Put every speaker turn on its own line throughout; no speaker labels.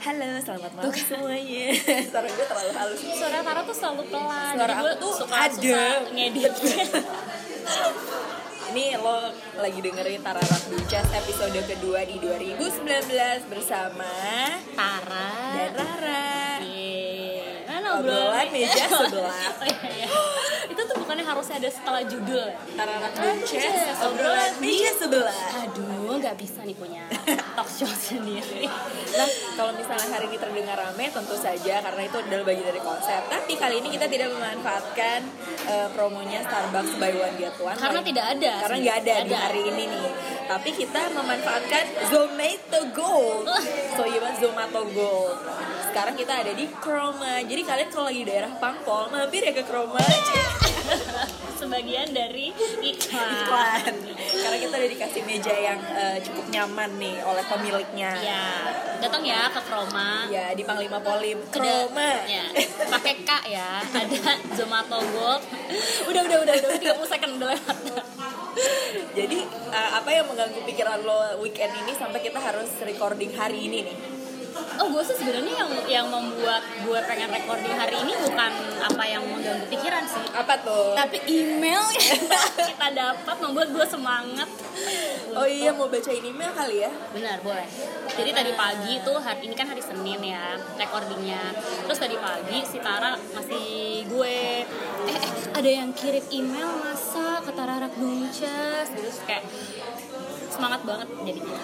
Halo, selamat malam semuanya. Suara gue terlalu halus.
Suara Tara tuh selalu pelan.
Suara
jadi
aku
gua
tuh
suka
ada.
susah ngeditnya.
Ini lo lagi dengerin Tararak Ducas episode kedua di 2019 bersama
Tara.
dan Rara.
Yeay. Mana
Obrolan
obrolan?
meja sebelah.
Oh, iya, iya. Itu tuh bukannya harusnya ada setelah judul. ya?
Tararak
Ducas,
Ducas,
obrolan
obrolan meja sebelah.
Aduh, nggak bisa nih punya talk show sendiri.
Nah, kalau misalnya hari ini terdengar rame, tentu saja karena itu adalah bagian dari konsep. Tapi kali ini kita tidak memanfaatkan eh, promonya Starbucks by one get one.
Karena
Kali-
tidak ada
Karena
sih.
nggak ada, di
Ada.
hari ini nih. Tapi kita memanfaatkan Zomato Gold. So iya Mas, Zomato Gold. Sekarang kita ada di Kroma. Jadi kalian kalau lagi di daerah Pangpol, mampir ya ke Kroma.
Sebagian dari iklan.
Iklan. Karena kita udah dikasih meja yang eh, cukup nyaman nih oleh pemiliknya.
Ya, datang ya ke Kroma.
Ya, di Panglima Polim.
Ada-
Kroma.
Ya, pakai K ya. Ada Zomato Gold. Udah, udah, udah, udah. 30 second udah lewat.
Jadi uh, apa yang mengganggu pikiran lo weekend ini sampai kita harus recording hari ini nih?
Oh, gue sih sebenarnya yang yang membuat gue pengen recording hari ini bukan apa yang mengganggu pikiran sih.
Apa tuh?
Tapi email yang kita dapat membuat gue semangat.
Oh iya mau baca ini email kali ya?
Benar, boleh. Jadi tadi pagi tuh hari ini kan hari Senin ya recordingnya. Terus tadi pagi si Tara masih gue eh, eh, ada yang kirim email masa ke Tara Rakdunces terus kayak semangat banget jadinya.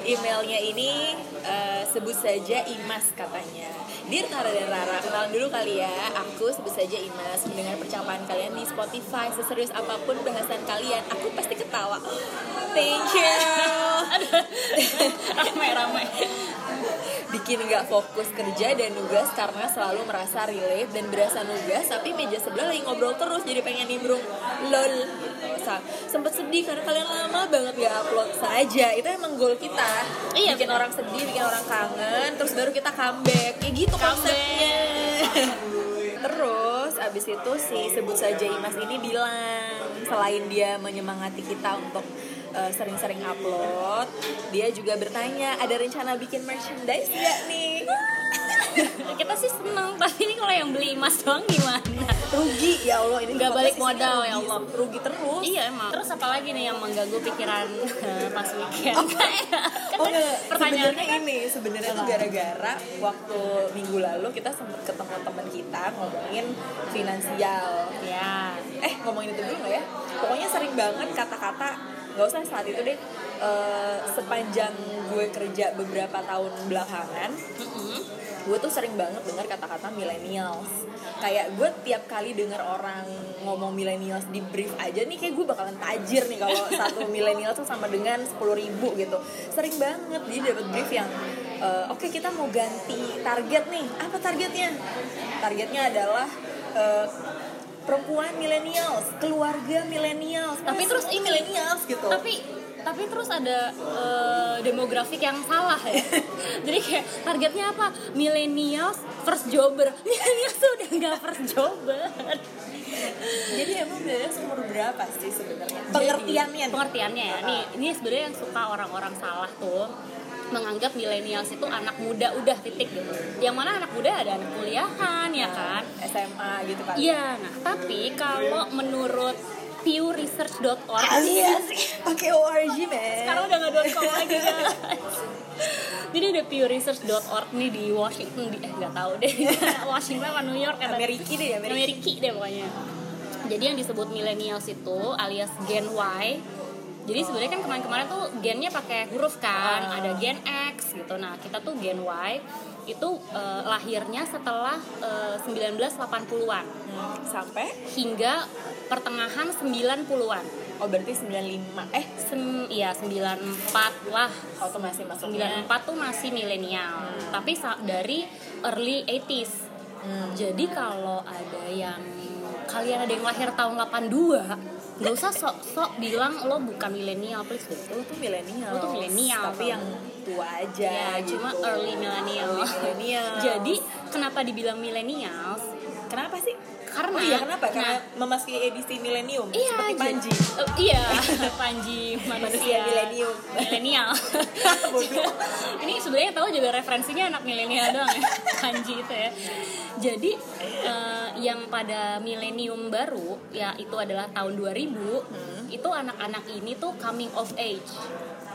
Emailnya ini uh, sebut saja Imas katanya. Dear Tara dan Rara, kenalan dulu kali ya. Aku sebut saja Imas mendengar percakapan kalian di Spotify seserius apapun bahasan kalian, aku pasti ketawa. Thank
Oh.
you.
Ramai-ramai.
bikin nggak fokus kerja dan nugas karena selalu merasa relate dan berasa nugas tapi meja sebelah lagi ngobrol terus jadi pengen nimbrung lol gitu. Sa- sempet sedih karena kalian lama banget nggak upload saja itu emang goal kita
Iya,
bikin
benar.
orang sedih bikin orang kangen terus baru kita comeback kayak gitu
Comeback.
konsepnya terus abis itu si sebut saja Imas ini bilang selain dia menyemangati kita untuk eh, sering-sering upload dia juga bertanya ada rencana bikin merchandise nggak nih
Kita sih seneng, tapi ini kalau yang beli emas doang gimana?
rugi ya Allah ini
Nggak
podcast
balik
isinya
modal, ya
rugi,
Allah.
rugi terus
Iya emang. Terus apa lagi nih yang mengganggu pikiran eh, pas weekend?
Oh,
kan
Oh,
tadi
enggak.
pertanyaannya
sebenarnya
kan
ini sebenarnya tuh
Apa?
gara-gara waktu minggu lalu kita sempet ketemu teman kita ngomongin finansial.
ya.
Eh ngomongin itu dulu nggak ya? Pokoknya sering banget kata-kata nggak usah saat itu deh. Eh, sepanjang gue kerja beberapa tahun belakangan,
Mm-mm.
gue tuh sering banget dengar kata-kata millennials kayak gue tiap kali dengar orang ngomong millennials di brief aja nih kayak gue bakalan tajir nih kalau satu millennial tuh sama dengan sepuluh ribu gitu sering banget dia dapat brief yang e, oke kita mau ganti target nih apa targetnya targetnya adalah e, perempuan millennials keluarga millennials
Tapi terus
semua
ini-
millennials gitu
Tapi tapi terus ada eh, demografik yang salah ya. Jadi kayak targetnya apa? Millennials first jobber. Millennials tuh udah nggak first jobber.
jadi emang millennials umur berapa sih sebenarnya pengertiannya nih.
Iya, pengertiannya ya nih ini sebenarnya yang suka orang-orang salah tuh menganggap milenials itu anak muda udah titik gitu yang mana anak muda ada anak kuliahan
Iya.
ya kan
SMA gitu kan
iya nah tapi kalau menurut pewresearch.org
Alias Iya pakai ORG men.
sekarang udah nggak .com lagi guys. jadi ada pewresearch.org nih di Washington di, eh nggak tahu deh Washington apa New York apa
Amerika deh Amerika.
Amerika deh pokoknya. Jadi yang disebut millennials itu alias Gen Y. Jadi sebenarnya kan kemarin-kemarin tuh gennya pakai huruf kan,
Ah.
ada Gen X gitu. Nah kita tuh Gen Y itu eh, lahirnya setelah eh, 1980-an
Hmm, sampai
hingga pertengahan 90-an.
oh berarti 95 eh
Sem ya 94 lah.
oh tuh masih masuknya.
94 tuh masih milenial, tapi sa- dari early 80s.
Hmm.
Jadi kalau ada yang kalian ada yang lahir tahun 82, nggak usah sok-sok bilang lo bukan milenial please deh.
Lu tuh milenial.
Lu tuh millennial,
Tapi
tau.
yang tua aja
Ya,
gitu.
cuma early milenial.
Early millennial.
Jadi kenapa dibilang milenial?
kenapa sih?
karena
Oh iya kenapa? Karena
nah,
memasuki edisi milenium
Iya,
seperti
jadi-
Panji.
Eh, iya, Panji
Manusia
manusia
milenium.
milenial.
Bodoh.
Ini sebenarnya yang tahu juga referensinya anak milenial doang ya, Panji itu ya. Jadi eh, yang pada milenium baru ya itu adalah tahun 2000,
Hmm.
itu anak-anak ini tuh coming of age.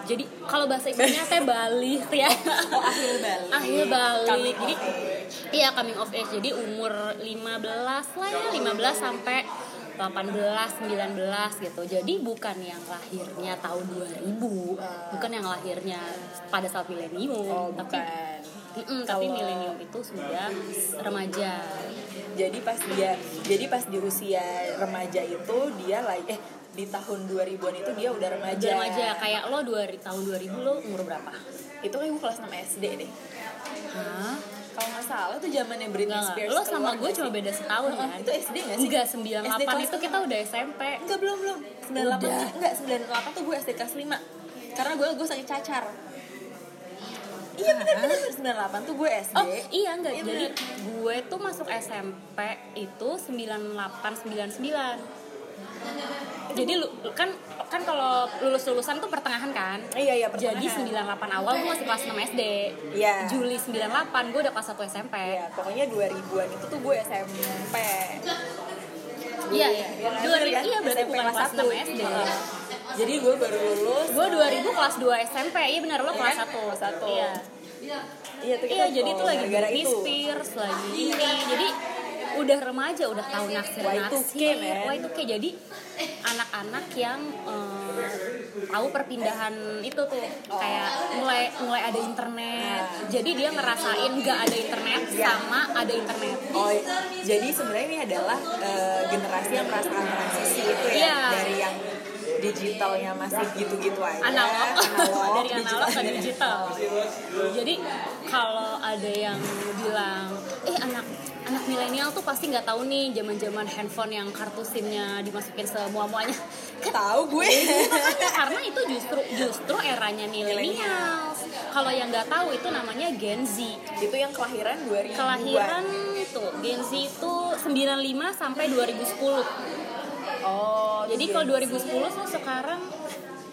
Jadi kalau bahasa Indonesia teh balik ya.
Oh akhir balik.
Akhir balik.
Iya. Coming
Jadi,
of age.
Iya coming of age jadi umur 15 lah ya 15 sampai 18 19 gitu. Jadi bukan yang lahirnya tahun 2000, bukan yang lahirnya pada saat milenium,
Oh
tapi
bukan.
Mm-mm, tapi
Kalau-
milenium itu sudah remaja.
Jadi pas dia jadi pas di usia remaja itu dia lagi eh di tahun 2000-an itu dia udah remaja.
Udah remaja kan? kayak lo 2000 tahun 2000 lo umur berapa?
Itu kayak gue kelas 6 SD deh.
Hah?
Kalau nggak salah tuh zamannya Britney
Enggak,
Spears.
lo sama
keluar nggak
gue cuma
sih?
beda setahun
Heeh,
kan?
Itu SD nggak sih?
Enggak,
SD
98
kelas kan?
itu kita udah SMP.
Enggak belum belum. 98
Udah.
tuh- enggak 98 tuh gue SD kelas 5. Karena gue gue sakit cacar. Iya benar benar 98 tuh gue SD.
Oh iya enggak
Iya,
jadi
bener.
gue tuh masuk SMP itu 9899 jadi lu kan kan kalau lulus lulusan tuh pertengahan kan
Iya iya
jadi
pertengahan.
98 awal gue masih kelas 6 SD
Iya.
Juli 98 gue udah kelas 1 SMP
Iya, pokoknya 2000-an itu tuh gue SMP.
iya iya
Iya, kan?
dua ribu-
Kan?
iya berarti
SMP
bukan
kelas
kelas
1.
6 SD
Heeh. Jadi gue baru lulus.
gue 2000 kelas 2 SMP iya benar lo
Iya
kelas
kan?
1
Kelas satu.
iya
Iya, tuh kita-
Iya, jadi itu
oh,
lagi
gara-gara
Britney
itu. Iya.
Spears lagi ini. Jadi udah remaja, udah tahu naksir
Y2K,
naksir.
men.
Wah itu kayak jadi anak-anak yang eh, tahu perpindahan itu tuh kayak mulai mulai ada internet.
Nah.
Jadi dia ngerasain nggak ada internet sama ada internet.
Oh, i- jadi sebenarnya ini adalah eh, generasi yang merasakan transisi itu ya
Iya.
dari yang digitalnya masih gitu-gitu aja.
analog,
analog,
dari analog ke digital. Jadi kalau ada yang bilang, eh anak anak milenial tuh pasti nggak tahu nih zaman-zaman handphone yang kartu simnya dimasukin semua-muanya.
Tahu gue.
Makanya karena itu justru justru eranya milenial. Kalau yang nggak tahu itu namanya Gen Z.
itu yang kelahiran 2000
Kelahiran tuh Gen Z itu 95 sampai 2010.
Oh,
Jadi kalau 2010 tuh sekarang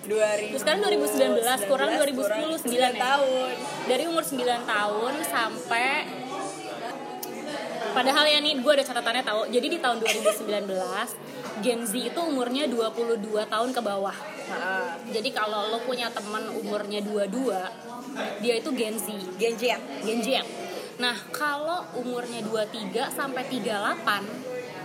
2000
Terus sekarang 2019, kurang 2010, 9 ya?
tahun.
dari umur 9 tahun sampai Padahal ya nih, gue ada catatannya tahu. Jadi di tahun 2019, Gen Z itu umurnya 22 tahun ke bawah.
Heeh.
Jadi kalau lo punya temen umurnya 22, dia itu Gen Z,
Gen Z. ya?
Gen Z. Nah, kalau umurnya 23 sampai 38,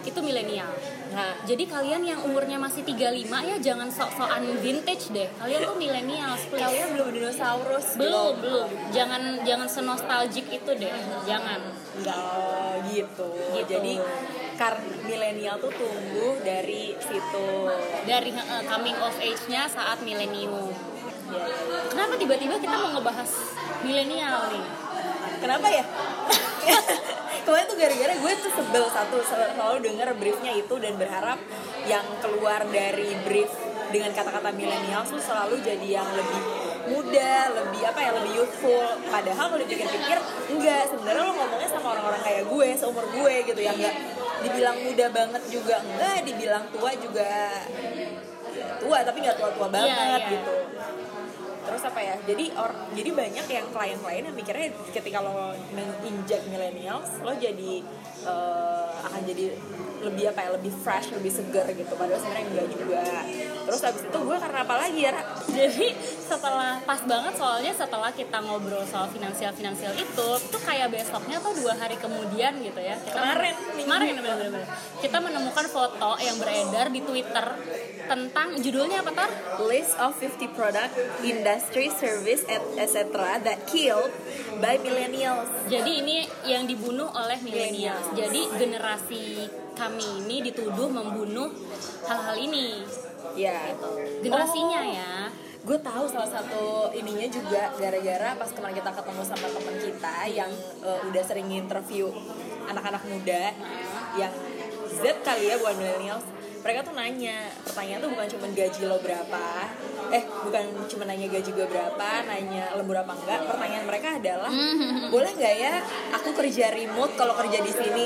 itu milenial.
Nah,
Jadi kalian yang umurnya masih 35 ya jangan sok-sokan vintage deh. Kalian tuh milenial, please
kalian belum dinosaurus.
belum belum jangan jangan senostalgic itu deh jangan
Enggak gitu.
Gitu.
Jadi kar milenial tuh tumbuh dari situ.
dari eh, coming of age nya saat milenium
Ya, ya, ya.
kenapa tiba-tiba kita mau ngebahas milenial nih
Kenapa ya? Kemarin tuh gara-gara gue tuh sebel satu sel- selalu denger briefnya itu dan berharap yang keluar dari brief dengan kata-kata milenial tuh selalu jadi yang lebih muda, lebih apa ya, lebih youthful. Padahal kalau dipikir-pikir enggak, sebenarnya lo ngomongnya sama orang-orang kayak gue, seumur gue gitu ya enggak dibilang muda banget juga enggak, dibilang tua juga ya, tua tapi nggak tua-tua banget
iya.
gitu terus apa ya jadi orang jadi banyak yang klien-klien yang mikirnya ketika lo menginjak millennials lo jadi eh, akan jadi lebih apa ya lebih fresh lebih segar gitu padahal sebenarnya enggak juga terus abis itu gue karena apa lagi ya Ra?
jadi setelah pas banget soalnya setelah kita ngobrol soal finansial finansial itu tuh kayak besoknya tuh dua hari kemudian gitu ya kita
Kemarin,
kemarin bener-bener kita menemukan foto yang beredar di twitter tentang judulnya apa tar
list of 50 product industry service et- etc that killed by millennials
Jadi ini yang dibunuh oleh milenial.
Millennials.
Jadi generasi kami ini dituduh membunuh hal-hal ini.
ya
Generasinya
Oh.
ya.
gue tahu salah satu ininya juga gara-gara pas kemarin kita ketemu sama teman kita yang eh, udah sering interview anak-anak muda yang Z kali ya bukan millennials mereka tuh nanya pertanyaan tuh bukan cuma gaji lo berapa eh bukan cuma nanya gaji gue berapa nanya lembur apa enggak pertanyaan mereka adalah
Mm-hmm.
boleh nggak ya aku kerja remote kalau kerja di sini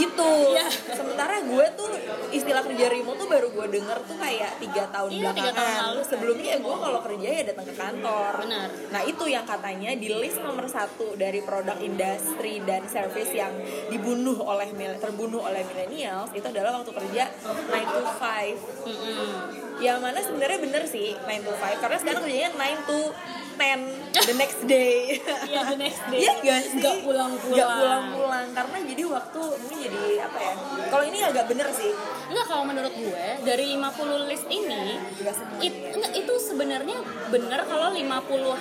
gitu
Iya.
sementara gue tuh istilah kerja remote tuh baru gue denger tuh kayak tiga tahun
Iya, tiga tahun
belakangan
lalu.
sebelumnya ya gue kalau kerja ya datang ke kantor
Benar.
Nah itu yang katanya di list nomor satu dari produk industri dan service yang dibunuh oleh mil- terbunuh oleh millennials itu adalah waktu kerja 9 to 5
Mm-mm.
yang mana sebenarnya bener sih 9 to 5 karena sekarang kerjanya 9 to 10 the next day
Iya, the next day.
Iya gak sih?
Nggak pulang-pulang.
Nggak pulang-pulang Karena jadi waktu mungkin jadi apa ya Kalau ini agak bener sih
Enggak kalau menurut gue dari 50 list ini
Nggak semua
it- enggak, itu sebenarnya bener kalau 50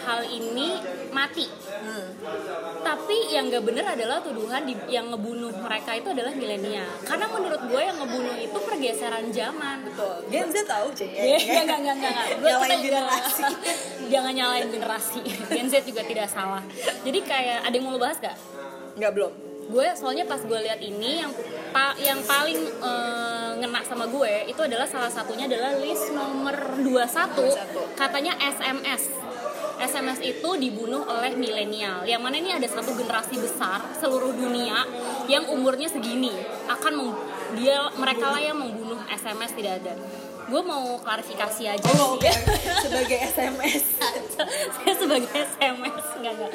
hal ini mati.
Hmm.
Tapi yang gak bener adalah tuduhan di- yang ngebunuh mereka itu adalah milenial. Karena menurut gue yang ngebunuh itu pergeseran zaman.
Betul Gen Z tau ceng
Iya, enggak, enggak, enggak, enggak. Gua-
Nyalain
kita juga-
generasi.
Jangan nyalain generasi. Gen Z juga tidak salah. Jadi kayak ada yang mau lo bahas gak?
Nggak belum
gue soalnya pas gue lihat ini yang pa- yang paling eh, ngena sama gue itu adalah salah satunya adalah list nomor 21
21.
katanya SMS SMS itu dibunuh oleh milenial yang mana ini ada satu generasi besar seluruh dunia yang umurnya segini akan meng- dia mereka lah yang membunuh SMS tidak ada gue mau klarifikasi aja
Oh
sih.
oke Sebagai SMS
saya sebagai SMS enggak enggak.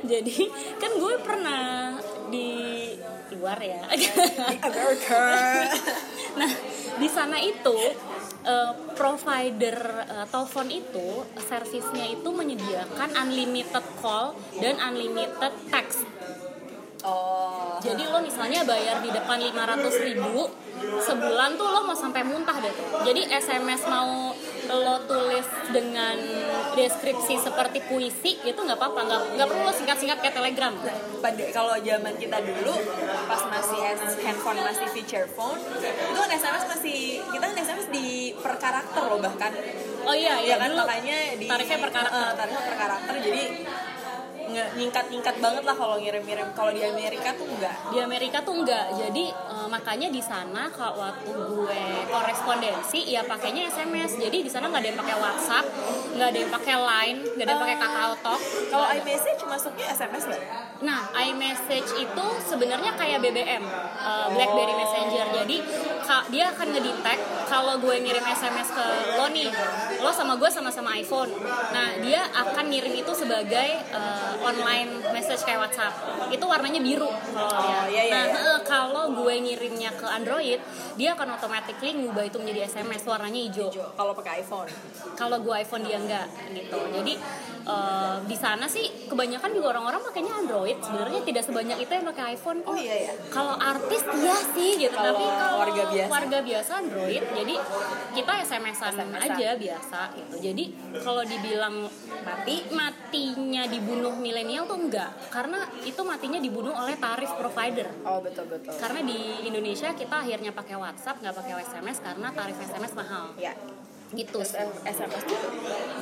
Jadi kan gue pernah di luar ya.
America.
nah, di sana itu eh, provider eh, telepon itu servisnya itu menyediakan unlimited call dan unlimited text.
Oh.
Jadi lo misalnya bayar di depan 500.000 ribu sebulan tuh lo mau sampai muntah deh. Jadi SMS mau lo tulis dengan deskripsi seperti puisi itu nggak apa-apa, nggak nggak perlu lo singkat-singkat kayak telegram.
Pada kalau zaman kita dulu pas masih S- handphone masih feature phone itu kan SMS masih kita kan SMS di per karakter loh bahkan
Oh iya
ya
iya
kan
dulu
makanya di
tarifnya per karakter.
Eh, tarifnya per karakter jadi nge- nyingkat-nyingkat banget lah kalau ngirim-ngirim kalau di Amerika tuh enggak
di Amerika tuh enggak jadi eh, makanya di sana kalau waktu gue korespondensi ya pakainya SMS jadi di sana nggak ada yang pakai WhatsApp nggak ada yang pakai Line nggak ada yang
Oh.
pakai Kakao Talk
kalau iMessage masuknya SMS nggak
Nah, iMessage itu sebenarnya kayak BBM, uh, BlackBerry Messenger. Jadi ka- dia akan ngedetect kalau gue ngirim SMS ke lo nih, lo sama gue sama-sama iPhone. Nah, dia akan ngirim itu sebagai uh, online message kayak WhatsApp. Itu warnanya biru kalau lo lihat.
Oh, iya, iya,
Nah,
iya.
eh, kalau gue ngirimnya ke Android, dia akan automatically ngubah itu menjadi SMS warnanya hijau
Jo, kalau pakai iPhone
kalau gue iPhone dia enggak gitu jadi eh, di sana sih kebanyakan juga orang-orang makanya Android sebenarnya tidak sebanyak itu yang pakai iPhone kok
Oh, iya, iya.
kalau artis iya sih gitu
Kalau
tapi kalau
warga biasa.
warga biasa Android jadi kita SMS-an
SMS-an.
aja biasa gitu jadi kalau dibilang mati matinya dibunuh milenial tuh enggak karena itu matinya dibunuh oleh tarif provider
oh betul betul
karena di Indonesia kita akhirnya pakai WhatsApp nggak pakai SMS karena tarif SMS mahal
ya
gitu
terus em- SMS tuh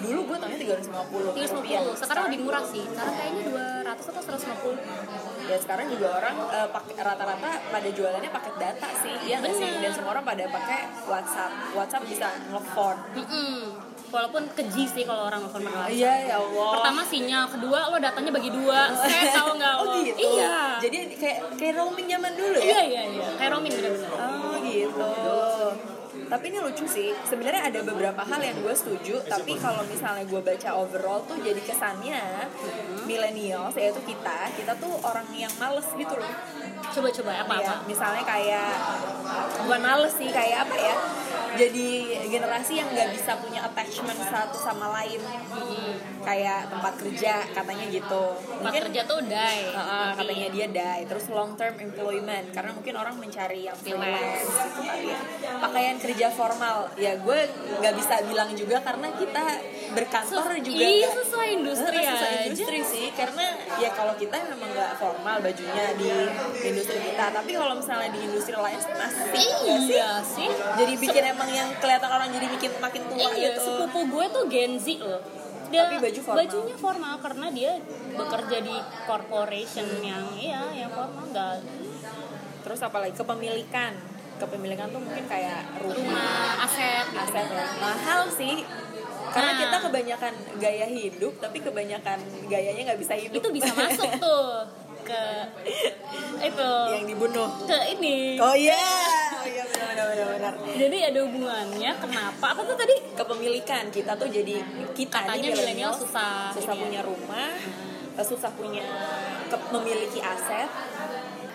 dulu gue tanya 350 rupiah
350. Sekarang lebih murah sih. Sekarang kayaknya 200 atau 150.
ya sekarang juga orang eh, pakai- rata-rata pada jualannya paket data sih ya nggak sih
Bener.
dan semua orang pada pakai WhatsApp WhatsApp bisa nelfon
Mm-mm. Walaupun keji sih kalau orang nelfon pakai WhatsApp.
iya ya Allah
Pertama sinyal, kedua lo datanya bagi dua. Saya tahu nggak
oh
lo?
gitu
Iya.
jadi kayak kayak roaming zaman dulu ya
Iya iya iya. Kayak roaming bener-bener.
Oh gitu. Tapi ini lucu sih. Sebenarnya ada beberapa hal yang gue setuju. Tapi kalau misalnya gue baca overall tuh jadi kesannya
Mm-hmm.
milenial, yaitu kita, kita tuh orang yang males gitu loh.
Coba-coba
Ya,
apa-apa.
misalnya kayak bukan males sih kayak apa ya? Jadi generasi yang nggak bisa punya attachment satu sama lain. Kayak tempat kerja katanya gitu.
Hmm. Tempat kerja tuh die.
Heeh, katanya dia die terus long term employment karena mungkin orang mencari yang freelance gitu kali ya. pakaian kerja formal ya gue nggak bisa bilang juga karena kita berkantor
Ses-
juga
iya,
nggak-
sesuai industri
Heeh, sesuai
aja.
industri sih karena ya kalau kita memang nggak formal bajunya di industri kita tapi kalau misalnya di industri lain sih masih nggak sih?
Iya sih.
jadi bikin emang yang kelihatan orang jadi bikin makin tua
Iya,
gitu
sepupu gue tuh Gen Z loh. Dia,
Tapi baju formal.
bajunya formal karena dia bekerja di corporation yang iya yang formal nggak
terus apalagi kepemilikan kepemilikan tuh mungkin kayak rumah,
rumah aset gitu.
aset ya. mahal sih karena
Nah.
kita kebanyakan gaya hidup tapi kebanyakan gayanya nggak bisa hidup
itu bisa masuk tuh ke itu
yang dibunuh
ke ini
oh iya oh iya benar benar benar benar
jadi ada hubungannya kenapa apa tuh tadi
kepemilikan kita tuh jadi kita
Katanya
nih
milenial
milenial
susah
susah
ini ya.
punya rumah eh, susah punya ke- memiliki aset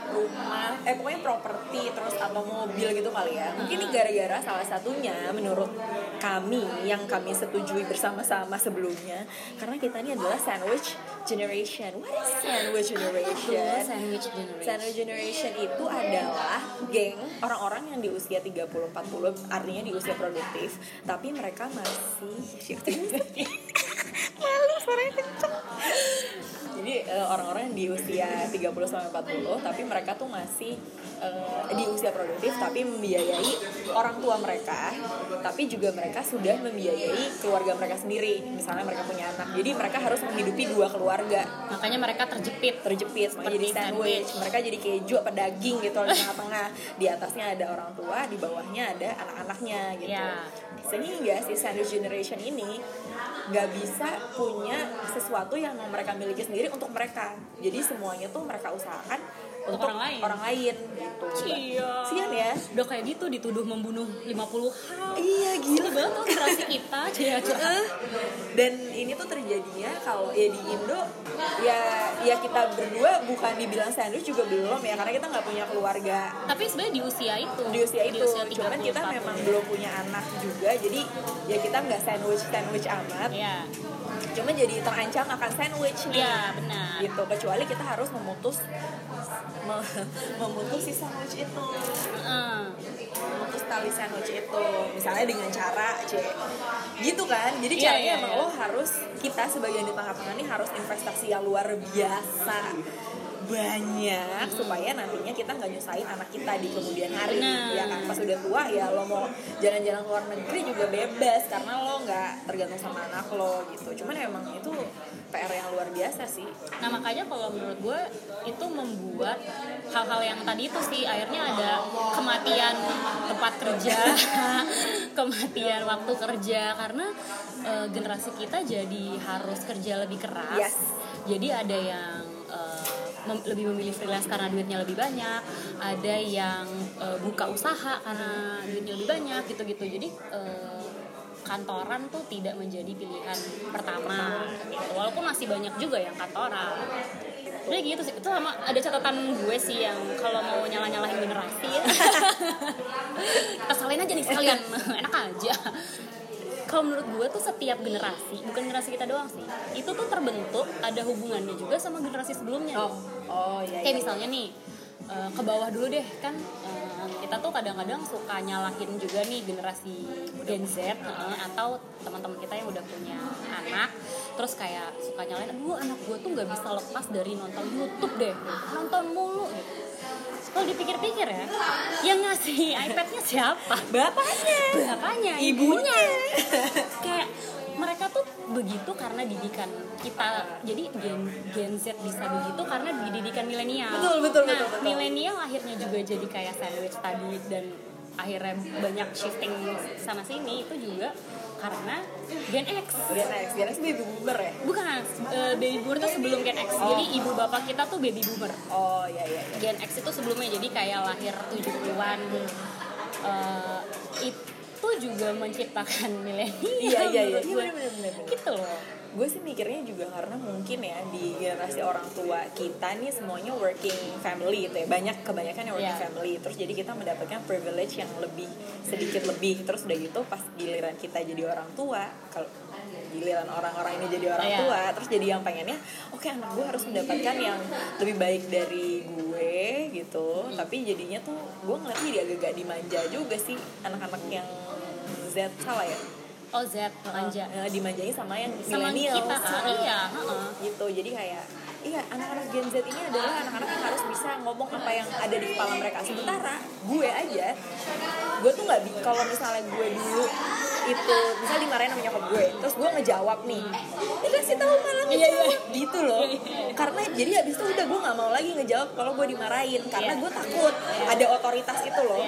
rumah eh pokoknya properti terus atau mobil gitu kali ya mungkin
Ah.
ini gara-gara salah satunya menurut kami yang kami setujui bersama-sama sebelumnya karena kita ini adalah sandwich generation what is sandwich
Dulu
generation
sandwich generation
Iya. Sandwich generation itu adalah geng orang-orang yang di usia 30-40 artinya di usia produktif tapi mereka masih malu suaranya kenceng jadi eh, orang-orang yang di usia 30 sampai 40 tapi mereka tuh masih eh, di usia produktif tapi membiayai orang tua mereka tapi juga mereka sudah membiayai keluarga mereka sendiri misalnya mereka punya anak jadi mereka harus menghidupi dua keluarga
makanya mereka terjepit
terjepit makanya jadi
Seperti
sandwich.
sandwich.
mereka jadi keju apa daging gitu di tengah-tengah di atasnya ada orang tua di bawahnya ada anak-anaknya gitu
Ya.
sehingga si sandwich generation ini nggak bisa punya sesuatu yang mau mereka miliki sendiri untuk mereka jadi semuanya tuh mereka usahakan untuk,
orang lain.
lain, gitu
Iya.
Sian ya
udah kayak gitu dituduh membunuh 50 hal
iya
gila banget tuh generasi kita cia cia
Heeh. dan ini tuh terjadinya kalau ya di Indo ya ya kita berdua bukan dibilang sandwich juga belum ya karena kita nggak punya keluarga
tapi sebenarnya di usia itu
di usia itu cuman kita
30,
memang belum punya anak juga jadi ya kita nggak sandwich sandwich amat
Iya,
cuman jadi terancam akan sandwich nih
iya benar
gitu kecuali kita harus memutus me- memutus si sandwich itu
Heeh.
memutus tali sandwich itu misalnya dengan cara c gitu kan jadi
Iya,
caranya
iya,
emang
iya.
lo harus kita sebagai yang di tengah-tengah nih harus investasi yang luar biasa banyak supaya nantinya kita nggak nyusahin anak kita di kemudian hari
Benar.
ya kan pas udah tua ya lo mau jalan-jalan ke luar negeri juga bebas karena lo nggak tergantung sama anak lo gitu cuman emang itu PR yang luar biasa sih
Nah makanya kalau menurut gue itu membuat hal-hal yang tadi itu sih akhirnya ada kematian tempat kerja, kematian waktu kerja karena eh, generasi kita jadi harus kerja lebih keras.
Yes.
Jadi ada yang eh, mem- lebih memilih freelance karena duitnya lebih banyak, ada yang eh, buka usaha karena duitnya lebih banyak gitu-gitu. Jadi eh, kantoran tuh tidak menjadi pilihan pertama. gitu. Walaupun masih banyak juga yang kantoran. Udah gitu sih. Itu sama ada catatan gue sih yang kalau mau nyala-nyalahin generasi ya. Kita salin aja nih sekalian. Enak aja. Kalau menurut gue tuh setiap generasi, bukan generasi kita doang sih, itu tuh terbentuk ada hubungannya juga sama generasi sebelumnya
oh oh ya
kayak misalnya nih eh, ke bawah dulu deh kan eh, kita tuh kadang-kadang suka nyalahin juga nih generasi Gen Z eh, atau teman-teman kita yang udah punya anak terus kayak suka nyalahin aduh anak gue tuh nggak bisa lepas dari nonton YouTube deh nonton mulu gitu kalau dipikir-pikir ya yang ngasih iPadnya siapa
bapaknya
bapaknya
Ibunya.
ibunya kayak mereka tuh begitu karena didikan kita jadi gen, gen Z bisa begitu karena didikan milenial
Betul, betul,
nah
betul, betul.
milenial akhirnya juga jadi kayak sandwich tadi dan akhirnya banyak shifting sana sini itu juga karena Gen X
Gen X Gen X baby boomer ya
bukan eh, baby boomer tuh sebelum Gen X
Oh.
jadi ibu bapak kita tuh baby boomer
oh ya ya ya
Gen X itu sebelumnya jadi kayak lahir 70-an eh, itu juga menciptakan milenial
Iya, iya, iya.
menurut
Iya,
gue.
bener, bener, bener.
gitu loh
gue sih mikirnya juga karena mungkin ya di generasi orang tua kita nih semuanya working family gitu ya banyak kebanyakan yang working
Iya.
family terus jadi kita mendapatkan privilege yang lebih sedikit lebih terus udah gitu pas giliran kita jadi orang tua kalau giliran orang-orang ini jadi orang
Iya.
tua terus jadi yang pengennya oke anak gue harus mendapatkan yang lebih baik dari gue gitu tapi jadinya tuh gue ngeliatnya dia agak-agak dimanja juga sih anak-anak yang Z salah ya
oh Z manja
Ah, Eh, dimanjain sama yang
sama
milenial
kita ah, iya heeh.
gitu jadi kayak iya anak-anak Gen Z ini adalah anak-anak yang harus bisa ngomong apa yang ada di kepala mereka sementara gue aja gue tuh nggak bi- kalau misalnya gue dulu itu misalnya dimarahin sama nyokap gue terus gue ngejawab nih dikasih tahu malah
Iya,
ngejawab gitu loh karena jadi habis itu udah gue nggak mau lagi ngejawab kalau gue dimarahin karena
Iya.
gue takut ada otoritas itu loh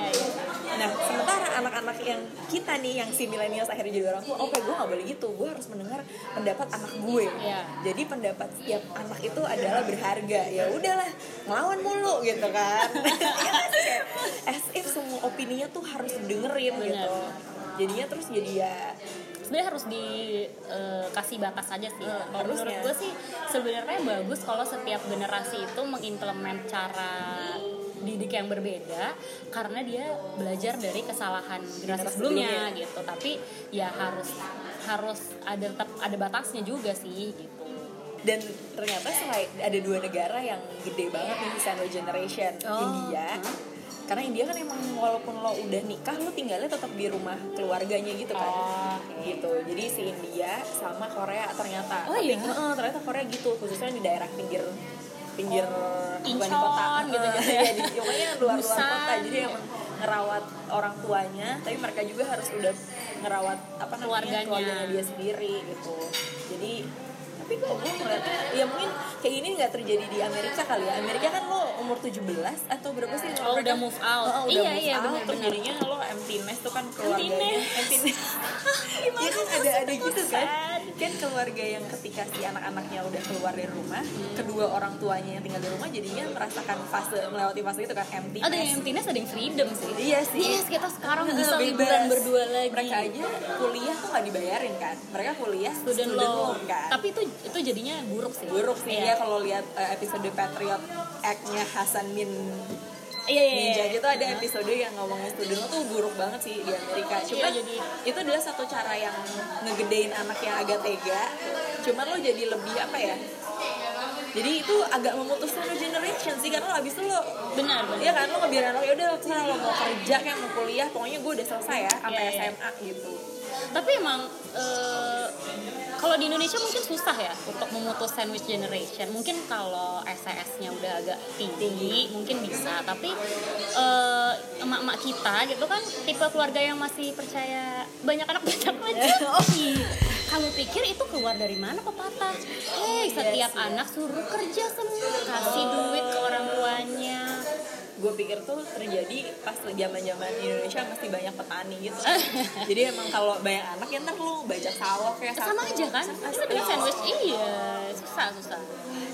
nah sementara anak-anak yang kita nih yang si milenial akhirnya jadi orang tua oke gue nggak boleh gitu gue harus mendengar pendapat anak gue
Iya.
jadi pendapat setiap anak itu adalah berharga ya udahlah ngelawan mulu gitu kan Iya kan? Kayak as if semua opininya tuh harus dengerin gitu jadinya terus jadi ya
sebenarnya harus dikasih batas aja sih.
Eh,
kalau menurut
harusnya.
gue sih sebenarnya bagus kalau setiap generasi itu mengimplement cara didik yang berbeda karena dia belajar dari kesalahan generasi sebelumnya gitu. Tapi ya harus harus ada tetap ada batasnya juga sih gitu.
dan ternyata selain ada dua negara yang gede banget nih di sandwich generation
Oh.
India karena India kan emang walaupun lo udah nikah lo tinggalnya tetap di rumah keluarganya gitu kan
Oh,
gitu jadi si India sama Korea ternyata
Oh,
Tapi,
iya?
heeh, ternyata Korea gitu khususnya di daerah pinggir pinggir bukan di
Incheon,
kota
gitu-gitu ya.
ya di pokoknya luar luar
Busan.
kota jadi emang ngerawat orang tuanya tapi mereka juga harus udah ngerawat apa namanya
Keluarganya.
keluarganya dia sendiri gitu jadi tapi kok gue ngeliatnya ya mungkin kayak ini nggak terjadi di Amerika kali ya Amerika kan lo umur 17 atau berapa sih
Oh, udah move
Oh,
out.
udah
Iya,
move
iya,
out,
benar,
terus
benar.
jadinya lo empty nest tuh kan keluarganya
nest.
empty nest Iya kan ada ada gitu kan
sad.
kan keluarga yang ketika si anak-anaknya udah keluar dari rumah kedua orang tuanya yang tinggal di rumah jadinya merasakan fase melewati fase itu kan empty
Ada
nest
yang emptiness, ada yang freedom sih.
Iya sih.
Yes, kita sekarang bisa
Bebas.
liburan berdua lagi.
mereka aja kuliah tuh nggak dibayarin kan mereka kuliah
student loan.
kan
Tapi itu itu jadinya buruk sih.
buruk sih ya
Iya.
kalau lihat eh, episode Patriot Act-nya Hasan Min
Iya, iya,
Ninja
iya.
gitu ada episode yang ngomongin student loan tuh buruk banget sih di Amerika. Cuma
Iya, jadi-
itu adalah satu cara yang ngegedein anak yang agak tega. Cuman lo jadi lebih apa ya? Jadi itu agak memutus lo generation sih karena lo abis itu lo
Benar, benar.
Iya kan lo ngebiarin lo ya udah terserah lo mau kerja kayak mau kuliah pokoknya gue udah selesai ya sampai
Iya, iya.
SMA gitu.
Tapi emang eh, kalau di Indonesia mungkin susah ya untuk memutus sandwich generation. Mungkin kalau SES-nya udah agak tinggi, mungkin bisa. Tapi eh, emak-emak kita gitu kan tipe keluarga yang masih percaya banyak anak banyak anak. iya. Kamu pikir itu keluar dari mana pepatah? Hei, setiap anak suruh kerja semua, kasih duit ke orang tuanya.
gue pikir tuh terjadi pas zaman zaman Indonesia masih banyak petani gitu jadi emang kalau banyak anak ya ntar lu bajak sawah kayak
Sama
satu.
aja kan? Itu dengan sandwich iya, susah susah.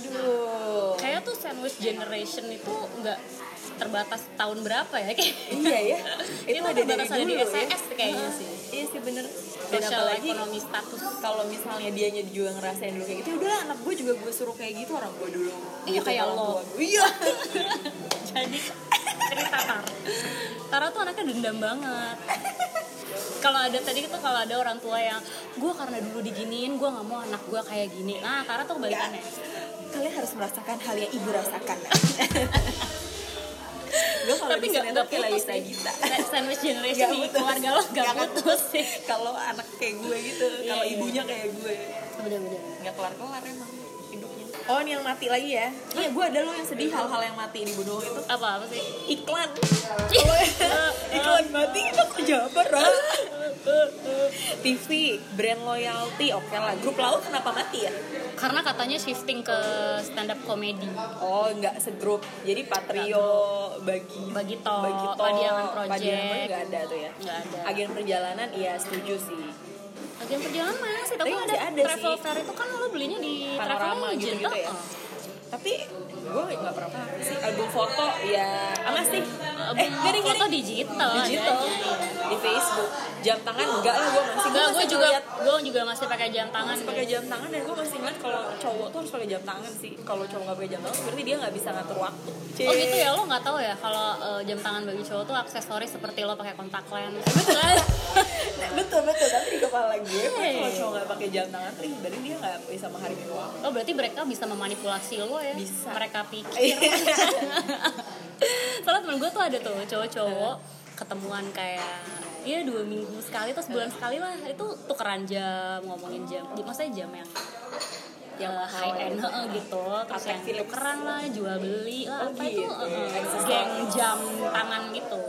aduh
kayak tuh sandwich generation itu nggak terbatas tahun berapa ya kayak
iya ya itu
Itu
ada dari
keterbatasan
dulu
di
ya
SIS kayaknya sih.
iya sih bener dan
social
apalagi
ekonomi status
kalau misalnya dianya juga ngerasain dulu kayak gitu ya udahlah anak gue juga gue suruh kayak gitu orang gue dulu
Iya,
gitu,
kayak
orang
lo.
tua gue. iya
jadi cerita Tara Tara tuh anaknya dendam banget kalau ada tadi itu kalau ada orang tua yang gue karena dulu diginiin gue nggak mau anak gue kayak gini nah Tara tuh kebalikannya
kalian harus merasakan hal yang ibu rasakan gue kalau
tapi
di
nggak nggak
kayak lagi
putus sih
Sagita
sandwich generation
Nggak
di
putus.
keluarga lo nggak
Nggak
putus sih
kalau anak kayak gue gitu
Iya,
kalau
iya.
ibunya kayak gue
bener-bener
nggak kelar kelar emang hidupnya oh ini yang mati lagi ya iya gue ada lo yang sedih hal-hal yang mati dibunuh itu
apa apa sih
iklan iklan mati kita kerja apa Ra? TV brand loyalty oke lah grup laut kenapa mati ya
karena katanya shifting ke stand up comedy
oh nggak segrup jadi Patrio bagi
Bagito, Padiangan Project.
Padiangan nggak ada tuh ya
Nggak ada.
agen perjalanan iya setuju sih
agen perjalanan mana sih tapi
Tapi
ada,
masih ada
travel
sih.
fair itu kan lo belinya di travel
panorama
agent
gitu gitu ya tapi gue nggak pernah paham sih album foto ya apa sih eh
eh,
gini gini
foto digital ya.
digital di Facebook jam tangan enggak lah gue masih
enggak
masih
gue juga
ngeliat
gue juga masih pakai jam tangan
pakai jam tangan dan gue masih ngeliat kalau cowok tuh harus pakai jam tangan sih kalau cowok nggak pakai jam tangan berarti dia nggak bisa ngatur waktu
Oh gitu ya lo nggak tahu ya kalau eh, jam tangan bagi cowok tuh aksesoris seperti lo pakai kontak lens. Betul.
Nah, betul betul tapi di kepala gue
Hey.
kalau cowok nggak pakai jam tangan tuh ih, berarti dia nggak bisa menghargai waktu
oh berarti mereka bisa memanipulasi lo ya.
Bisa.
Mereka pikir. Soalnya temen gue tuh ada tuh cowok-cowok ketemuan kayak Iya dua minggu sekali atau sebulan sekali lah itu tukeran jam ngomongin jam, maksudnya jam yang
Yang
eh,
mahal
high end
gitu.
heeh, gitu terus
Patek
yang
Philips.
tukeran lah jual beli lah
Oh,
apa itu
gitu.
eh,
Aksesoris.
geng jam tangan gitu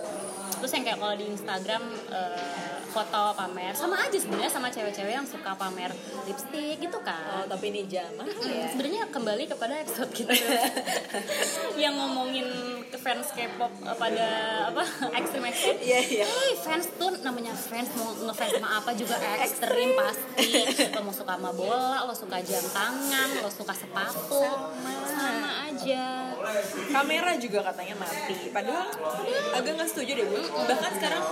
terus yang kayak kalau di Instagram eh, foto pamer sama aja sebenarnya sama cewek-cewek yang suka pamer lipstick gitu
Oh,
kan
tapi ini jam mahal
Hmm,
ya.
Sebenarnya kembali kepada episode kita yang ngomongin ke fans K-pop eh, pada apa ekstrim ekstrim.
Iya, iya.
Eh, fans tuh namanya fans mau ngefans sama apa juga ekstrim pasti. Lo mau suka sama bola, lo suka jam tangan, lo suka sepatu, sama aja.
Kamera juga katanya mati. Padahal agak nggak setuju deh gue. Bahkan sekarang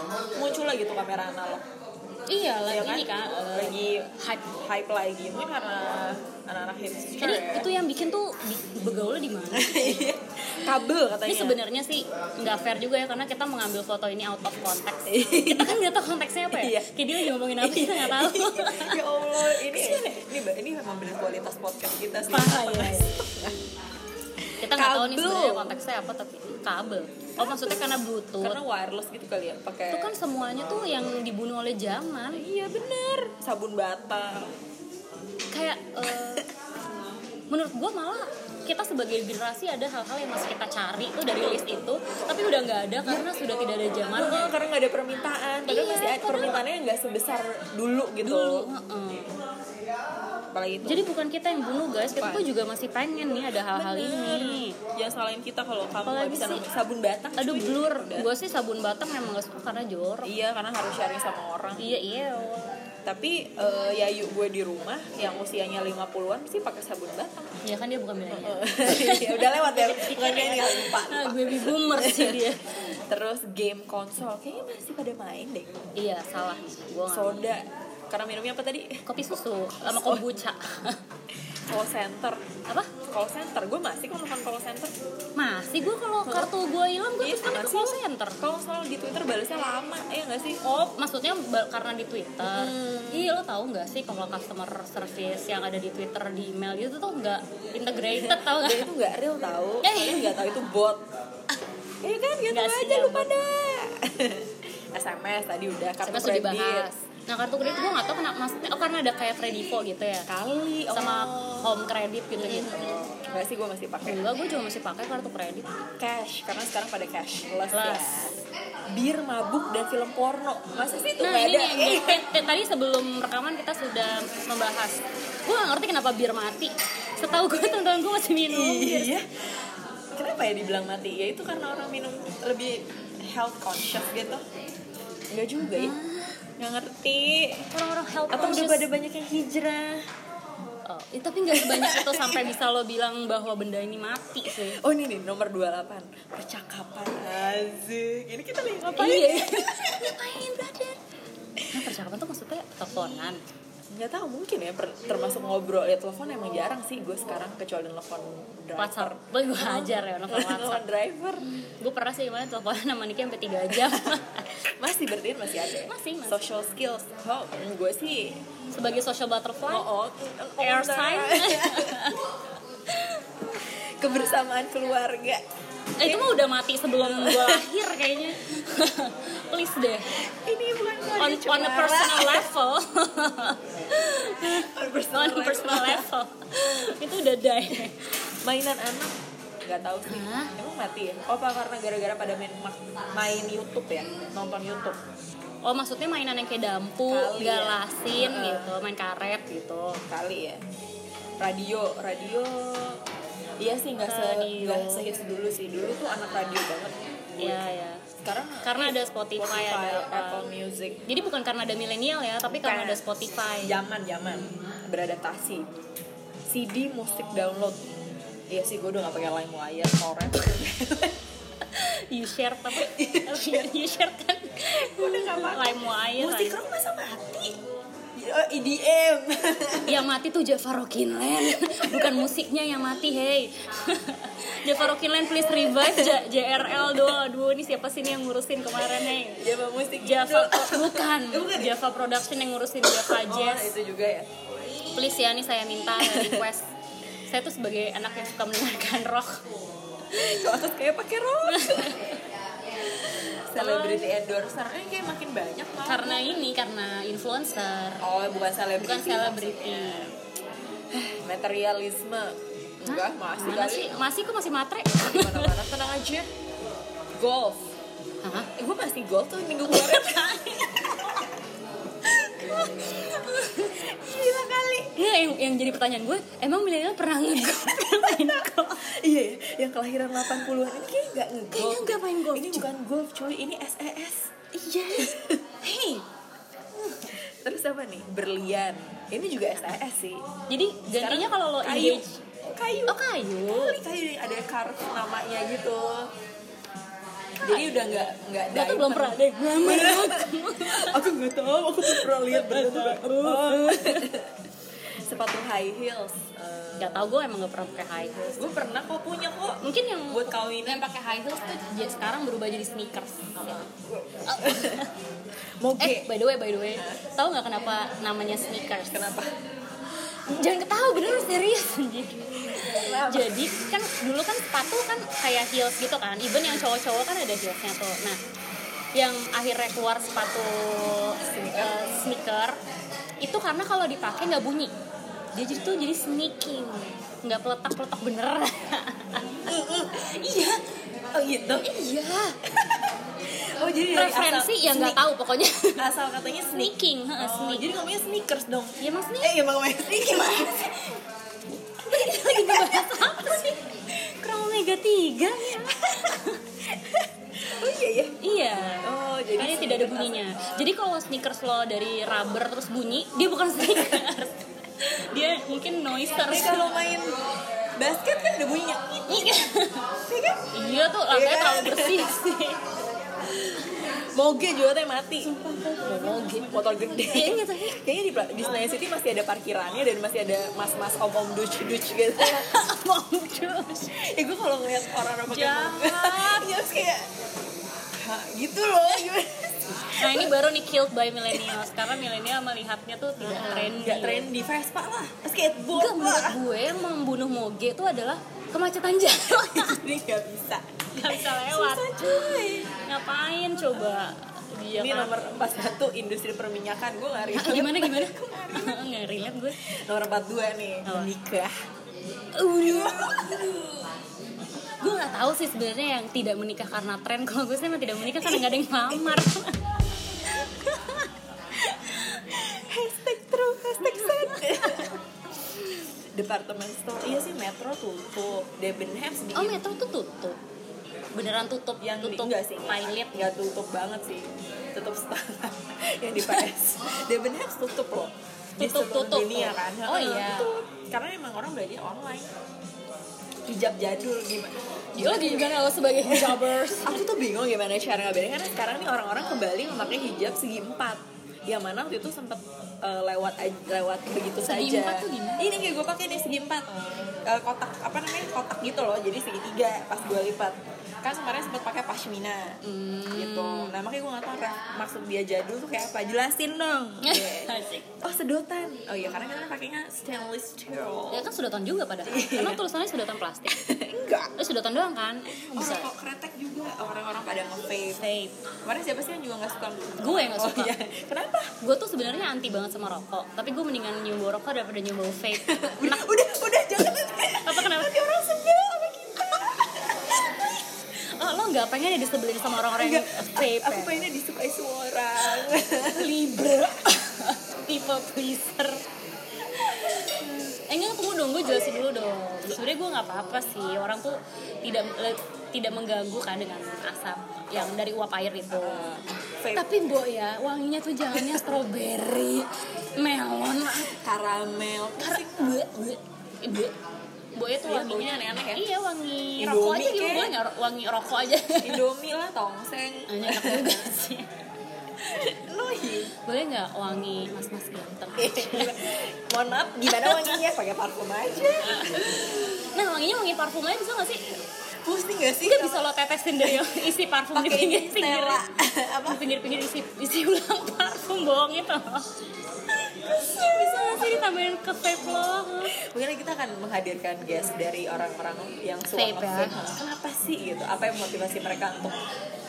muncul lagi tuh kamera analog.
Iya lagi
Ya kan?
ini kan eh,
Lagi
hype.
hype lagi. Mungkin karena anak-anak hipster
Jadi
ya. Iya.
itu yang bikin tuh di- begaulnya di mana?
Kabel katanya.
Ini sebenarnya sih nggak fair juga ya karena kita mengambil foto ini out of context. kita kan nggak tahu konteksnya apa ya.
Iya.
Kayak dia lagi ngomongin apa kita nggak tahu.
ya Allah, ini ini ini memang benar kualitas podcast kita sih.
Parah ya. kita nggak tahu nih
Kabel.
sebenarnya konteksnya apa tapi kabel. Oh maksudnya karena bluetooth.
Karena wireless gitu kali ya, pakai
itu kan semuanya tuh yang dibunuh oleh zaman. Iya bener.
sabun bata.
Kayak eh, menurut gua malah kita sebagai generasi ada hal-hal yang masih kita cari tuh dari list itu tapi udah nggak ada karena sudah tidak ada zaman
Heeh, karena nggak ada permintaan, padahal
Ah, Iya,
masih ada
padahal-
permintaannya nggak sebesar dulu gitu.
dulu. heeh.
Apalagi itu.
Jadi bukan kita yang bunuh guys, kita tuh juga masih pengen nih ada hal-hal
Bener.
ini.
Jangan salahin kita kalau kamu nggak
Apalagi
bisa
sih-
nemuin sabun batang.
Aduh
cuy.
blur,
Udah.
gue sih sabun batang memang gak suka karena jorok.
Iya, karena harus sharing sama orang.
Iya iya.
Tapi eh, ya yuk gue di rumah yang usianya 50-an sih pakai sabun batang.
Ya kan dia bukan milenial.
ya udah lewat ya, bukan ini nggak lupa.
Nah, baby boomer sih dia.
Terus game konsol kayaknya masih pada main deh.
iya salah nih, gue
Soda. Karena minumnya apa tadi?
Kopi susu sama kombucha.
Call center.
Apa?
Call center. Gue masih kok nelfon call center.
Masih gue kalau kartu gue hilang gue
Iya,
terus kan ke
masih
call
lo.
center.
Kalau soal di Twitter balasnya lama, ya nggak sih?
Oh, maksudnya ba- karena di Twitter.
Hmm.
Iya, lo tahu nggak sih kalau customer service yang ada di Twitter, di email itu tuh nggak integrated tau
Dan
nggak?
itu nggak real tahu.
Eh.
Kalian nggak tahu itu bot. Iya kan? Gitu
Nggak
aja
siap.
lu pada. SMS tadi udah kartu
Karena sudah
kredit.
dibahas. Nah, kartu kredit gue nggak tahu kenapa maksudnya. Oh, karena ada kayak Kredivo gitu ya.
Kali oh.
Sama home credit gitu-gitu.
Nggak sih gue masih pakai
Enggak, gue juga masih pakai kartu kredit.
cash karena sekarang pada cashless ya.
Less.
Bir, mabuk dan film porno. Masa sih itu
Nah,
nggak
ini
ada?
nih,
Eh,
yang- eh, tadi sebelum rekaman kita sudah membahas. Gue nggak ngerti kenapa bir mati. Setahu gue teman-teman gue masih minum bir.
Iya. Kenapa ya dibilang mati? Ya itu karena orang minum lebih health conscious gitu. Enggak juga ya. Nggak ngerti.
Orang-orang health
Atau udah
Ah. conscious.
pada banyak yang hijrah.
Oh, eh, tapi nggak sebanyak itu sampai bisa lo bilang bahwa benda ini mati sih.
Oh ini nih nomor 28 Percakapan Azik Ini kita lagi ngapain? ya?
Iya. Ngapain, brother? Nah, percakapan tuh maksudnya teleponan.
Nggak tahu mungkin ya per- Termasuk ngobrol ya telepon emang jarang sih Gue sekarang kecuali telepon driver
WhatsApp. Boy, gue
Oh.
ajar ya nelfon
Telepon
WhatsApp.
driver
Gue pernah sih kemarin teleponan sama Niki sampai 3 jam.
Masih berarti masih ada ya?
Masih, masih.
Social skills Oh mm, gue sih
Sebagai social butterfly,
Oh, oh.
air sign.
Kebersamaan keluarga
Eh, itu mah udah mati sebelum gue lahir kayaknya. Please deh.
Ini bukan
On,
keluarga
on a
Cemara.
personal level.
On
on
personal
a personal level. itu udah die.
Mainan anak nggak tahu sih
Hah?
emang mati ya oh apa karena gara-gara pada main main YouTube ya nonton YouTube
Oh maksudnya mainan yang kayak dampu,
Kali ya.
galasin
Heeh.
gitu, main karet gitu.
kali ya radio radio iya sih nggak se
Radio.
nggak sehits dulu sih dulu tuh anak radio banget
Iya ya.
sekarang
Karena ada Spotify,
Spotify
ada apa.
Apple Music
Jadi bukan karena ada milenial ya, tapi karena
Bukan.
ada Spotify.
zaman zaman beradaptasi CD musik download iya sih gue udah nggak pakai LimeWire torrent
You share apa? you share kan?
udah nggak pakai
LimeWire.
musik rock masa mati Oh, EDM
Yang mati tuh Java Rockinland, bukan musiknya yang mati, hey. Java Rockinland please revive J- JRL do. Aduh, ini siapa sih nih yang ngurusin kemarin, hey?
Java Iya, musik gitu.
Java
Indo.
bukan,
Eh, bukan ya?
Java Production yang ngurusin Java
Oh,
Jazz.
itu juga ya
please ya nih saya minta request saya tuh sebagai anak yang suka mendengarkan rock
Kalau aku kayak pakai rok Celebrity endorser Ini kayak makin banyak tau
karena ini karena influencer
Oh bukan selebriti
bukan selebriti
materialisme enggak Iya, masih
Mana
kali
sih? Masih kok masih matre?
mana-mana tenang aja golf
Hah?
eh, gue masih golf tuh minggu kemarin gila kali
Iya, yang, yang jadi pertanyaan gue, emang milenial pernah ngegolf? Main golf?
iya ya yang kelahiran 80-an ini kayaknya nggak
Kayaknya
ngegolf
nggak main golf.
ini
cuy.
bukan golf cuy ini E SES
Iya. Hei,
terus apa nih berlian ini juga SES sih
jadi gantinya kalau lo
kayu
engage-
kayu
Oh kayu.
kali kayu yang ada kartu namanya gitu jadi udah nggak nggak
Gue tuh belum
diamond.
pernah deh. Belum
aku nggak tahu aku belum pernah lihat bentuk apa. sepatu high heels
Gak tau gue emang gak pernah pakai high heels.
gue pernah kok punya kok
Mungkin yang
buat kawinan
yang pakai high heels tuh ya, sekarang berubah jadi sneakers.
moge
Eh, by the way, by the way, tahu nggak kenapa namanya sneakers?
kenapa
Jangan ketawa bener serius anjir. Jadi kan dulu kan sepatu kan kayak heels gitu kan. Even yang cowok-cowok kan ada heelsnya tuh. Nah, yang akhirnya keluar sepatu eh, sneaker itu karena kalau dipakai nggak bunyi. Dia jadi tuh jadi sneaking, nggak peletak-peletak beneran. iya,
eh, oh gitu
iya.
oh jadi dari
Referensi
asal-
yang ya nggak tahu pokoknya.
sneak- asal katanya sneak
sneaking, heeh,
Oh,
sneak.
jadi ngomongnya sneakers dong
Ya mas nih,
eh emang ngomongnya sneak gimana sih?
lagi ngebahas apa sih? Kurang omega 3 ya.
Iya. oh iya ya
Iya.
oh jadi
Jadi tidak ada bunyinya. Jadi kalau sneakers lo dari rubber terus bunyi, dia bukan sneakers. dia mungkin noiser.
tapi kalau main basket kan ada bunyinya
Iya.
sih kan
iya tuh langkahnya
Iya.
terlalu bersih sih.
moge juga teh mati
Moge.
motor gede
Iya gitu.
kayaknya di, pla- di Senayan City masih ada parkirannya dan masih ada mas-mas om-om duci-duci gitu
Mau terus.
ya gue kalau ngeliat orang-orang pakai
Jahat.
moge, ya terus kayak "Hah, gitu loh gimana
Nah ini baru nih killed by millennials karena millennial melihatnya tuh tidak trendy.
nggak Nah, trendy Vespa lah skateboard
Enggak menurut
lah
gue yang membunuh moge itu adalah kemacetan jalan.
ini nggak bisa
Gak bisa lewat.
susah cuy
Ngapain coba? Dia
ini
kan.
nomor 41 industri perminyakan gue nggak
Ah,
relate
gimana gimana? Nggak relate gue.
nomor 42 nih
Apa?
nikah
gue nggak tahu sih sebenarnya yang tidak menikah karena tren kalau gue sih emang tidak menikah karena nggak ada yang lamar
hashtag true hashtag sad departemen store iya sih metro tutup Debenhams sedikit
oh metro tuh tutup beneran tutup
yang di-
tutup
enggak sih
pilot
nggak tutup banget sih tutup setengah yang di PS Debenhams tutup loh di
Tutup,
seluruh
tutup,
dunia
tuh.
kan
Oh,
Heeh,
iya.
tutup. karena emang orang belanja online hijab jadul gimana
Gila lagi juga lo sebagai jobbers
aku tuh bingung gimana cara ngabarin karena sekarang nih orang-orang kembali memakai hijab segi empat yang mana waktu itu sempet eh, lewat aj- lewat begitu
Segi
saja
empat tuh gimana?
ini kayak gue pakai nih segi empat Eh, kotak apa namanya kotak gitu loh jadi segi tiga pas gue lipat kan kemarin sempet pakai pashmina
Hmm.
gitu nah makanya gue nggak tahu ref- maksud dia jadul tuh kayak apa jelasin dong
Asik.
oh sedotan oh iya karena kita pakainya stainless steel
ya kan sedotan juga padahal emang tulisannya sedotan plastik
enggak
lo sedotan doang kan
Oh,
bisa
rokok kretek juga orang-orang pada nge-vape. Kemarin siapa sih yang juga nggak suka?
Gue yang nggak suka.
Oh, iya. Kenapa?
gue tuh sebenarnya anti banget sama rokok tapi gue mendingan nyium bau rokok daripada nyium bau vape
Udah, udah, udah jangan.
Apa, kenapa?
Nanti orang sebel sama kita.
oh, lo nggak pengen ya disebelin sama orang-orang yang
Enggak,
vape
aku
ya?
pengennya disukai semua orang.
Libra tipe pleaser eh enggak tunggu dong gue jelasin dulu dong sebenarnya gue nggak apa-apa sih orang tuh tidak le- tidak mengganggu kan dengan asap yang dari uap air itu
Vape
tapi mbok ya wanginya tuh jangannya stroberi melon
karamel.
karena gue gue gue mbok itu
Iya,
wanginya
baunya aneh-aneh ya?
iya wangi
Indomie
rokok aja gitu
kek.
gue nggak ro- wangi rokok aja
Indomie lah, tongseng.
Aneh, enak juga sih
Lu hi.
boleh nggak wangi mas-mas ganteng
Mohon maaf, gimana wanginya? Pakai parfum aja.
Nah wanginya wangi parfum aja bisa gak sih?
Pusing gak sih?
Itu bisa lo tetesin dari isi parfum di
Pakai ini
pinggir-pinggir
Stella. Apa?
Di pinggir-pinggir isi, isi ulang parfum bohong itu loh Bisa gak sih ditambahin ke vape lo?
Mungkin kita akan menghadirkan guest dari orang-orang yang suka
Vape ya.
nge-vape. Kenapa sih gitu? Apa yang motivasi mereka untuk